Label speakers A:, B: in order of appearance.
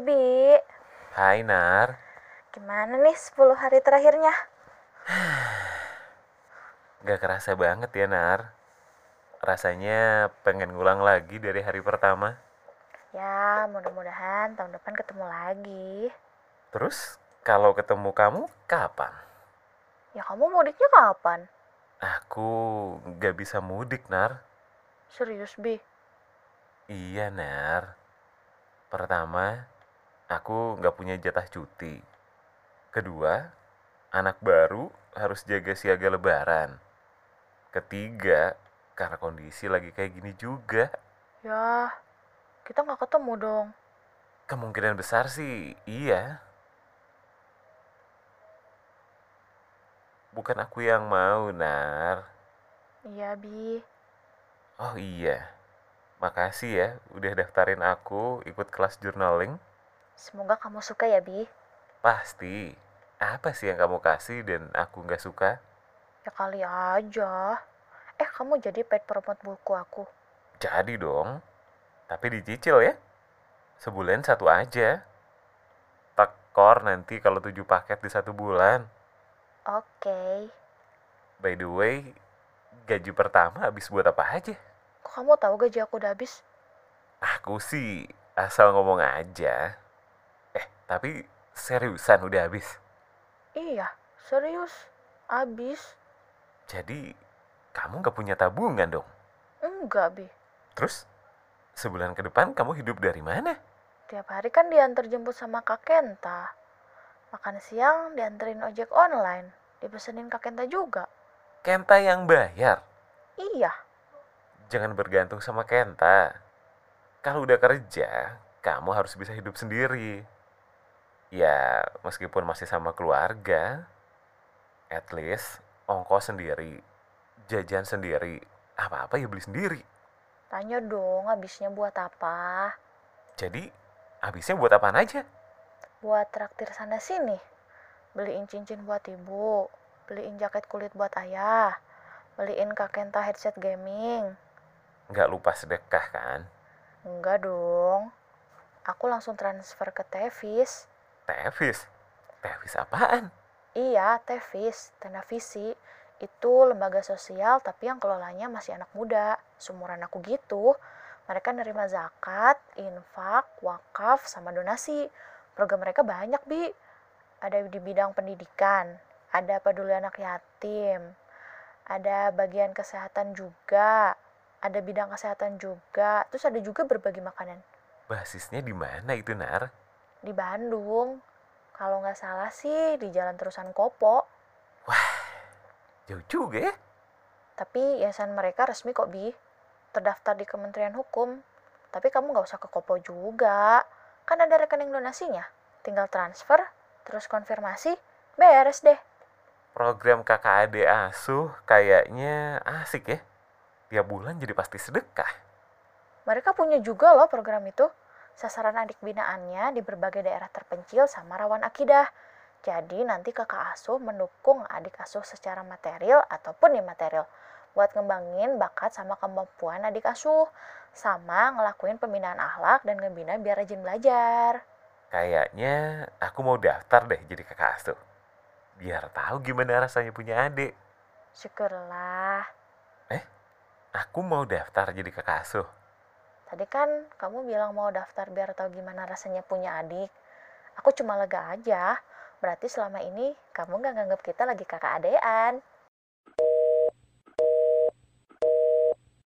A: Bi.
B: Hai Nar,
A: Gimana nih 10 hari terakhirnya?
B: gak kerasa banget ya Nar. Rasanya pengen ngulang lagi dari hari pertama.
A: Ya, mudah-mudahan tahun depan ketemu lagi.
B: Terus, kalau ketemu kamu, kapan?
A: Ya kamu mudiknya kapan?
B: Aku gak bisa mudik Nar.
A: Serius Bi?
B: Iya Nar. Pertama, aku gak punya jatah cuti. Kedua, anak baru harus jaga siaga lebaran. Ketiga, karena kondisi lagi kayak gini juga.
A: Ya, kita nggak ketemu dong.
B: Kemungkinan besar sih iya. Bukan aku yang mau, Nar.
A: Iya Bi.
B: Oh iya. Makasih ya udah daftarin aku ikut kelas journaling.
A: Semoga kamu suka ya Bi.
B: Pasti. Apa sih yang kamu kasih dan aku nggak suka?
A: Ya kali aja. Eh kamu jadi pet promote buku aku.
B: Jadi dong. Tapi dicicil ya. Sebulan satu aja. Tekor nanti kalau tujuh paket di satu bulan.
A: Oke.
B: By the way, gaji pertama habis buat apa aja?
A: Kok kamu tahu gaji aku udah habis?
B: Aku sih asal ngomong aja. Eh, tapi seriusan udah habis.
A: Iya, serius. Habis?
B: Jadi, kamu nggak punya tabungan dong?
A: Enggak Bi.
B: Terus, sebulan ke depan kamu hidup dari mana?
A: Tiap hari kan diantar jemput sama Kak Kenta. Makan siang dianterin ojek online. Dipesenin Kak Kenta juga.
B: Kenta yang bayar.
A: Iya,
B: Jangan bergantung sama Kenta. Kalau udah kerja, kamu harus bisa hidup sendiri. Ya, meskipun masih sama keluarga, at least ongkos sendiri, jajan sendiri, apa-apa ya beli sendiri.
A: tanya dong habisnya buat apa?
B: Jadi, habisnya buat apaan aja?
A: Buat traktir sana-sini. Beliin cincin buat ibu. Beliin jaket kulit buat ayah. Beliin Kak Kenta headset gaming.
B: Nggak lupa sedekah kan?
A: Enggak dong. Aku langsung transfer ke Tevis.
B: Tevis. Tevis apaan?
A: Iya, Tevis, Tenda Visi. Itu lembaga sosial tapi yang kelolanya masih anak muda. Sumuran aku gitu. Mereka nerima zakat, infak, wakaf, sama donasi. Program mereka banyak, Bi. Ada di bidang pendidikan, ada peduli anak yatim, ada bagian kesehatan juga, ada bidang kesehatan juga, terus ada juga berbagi makanan.
B: Basisnya di mana itu, Nar?
A: Di Bandung, kalau nggak salah sih di Jalan Terusan Kopo.
B: Jauh juga ya?
A: Tapi yayasan mereka resmi kok, Bi. Terdaftar di Kementerian Hukum. Tapi kamu nggak usah ke Kopo juga. Kan ada rekening donasinya. Tinggal transfer, terus konfirmasi, beres deh.
B: Program KKAD Asuh kayaknya asik ya. Tiap bulan jadi pasti sedekah.
A: Mereka punya juga loh program itu. Sasaran adik binaannya di berbagai daerah terpencil sama rawan akidah. Jadi nanti kakak asuh mendukung adik asuh secara material ataupun imaterial buat ngembangin bakat sama kemampuan adik asuh sama ngelakuin pembinaan akhlak dan ngebina biar rajin belajar.
B: Kayaknya aku mau daftar deh jadi kakak asuh. Biar tahu gimana rasanya punya adik.
A: Syukurlah.
B: Aku mau daftar jadi kakak asuh.
A: Tadi kan kamu bilang mau daftar biar tahu gimana rasanya punya adik. Aku cuma lega aja. Berarti selama ini kamu nggak nganggap kita lagi kakak adean.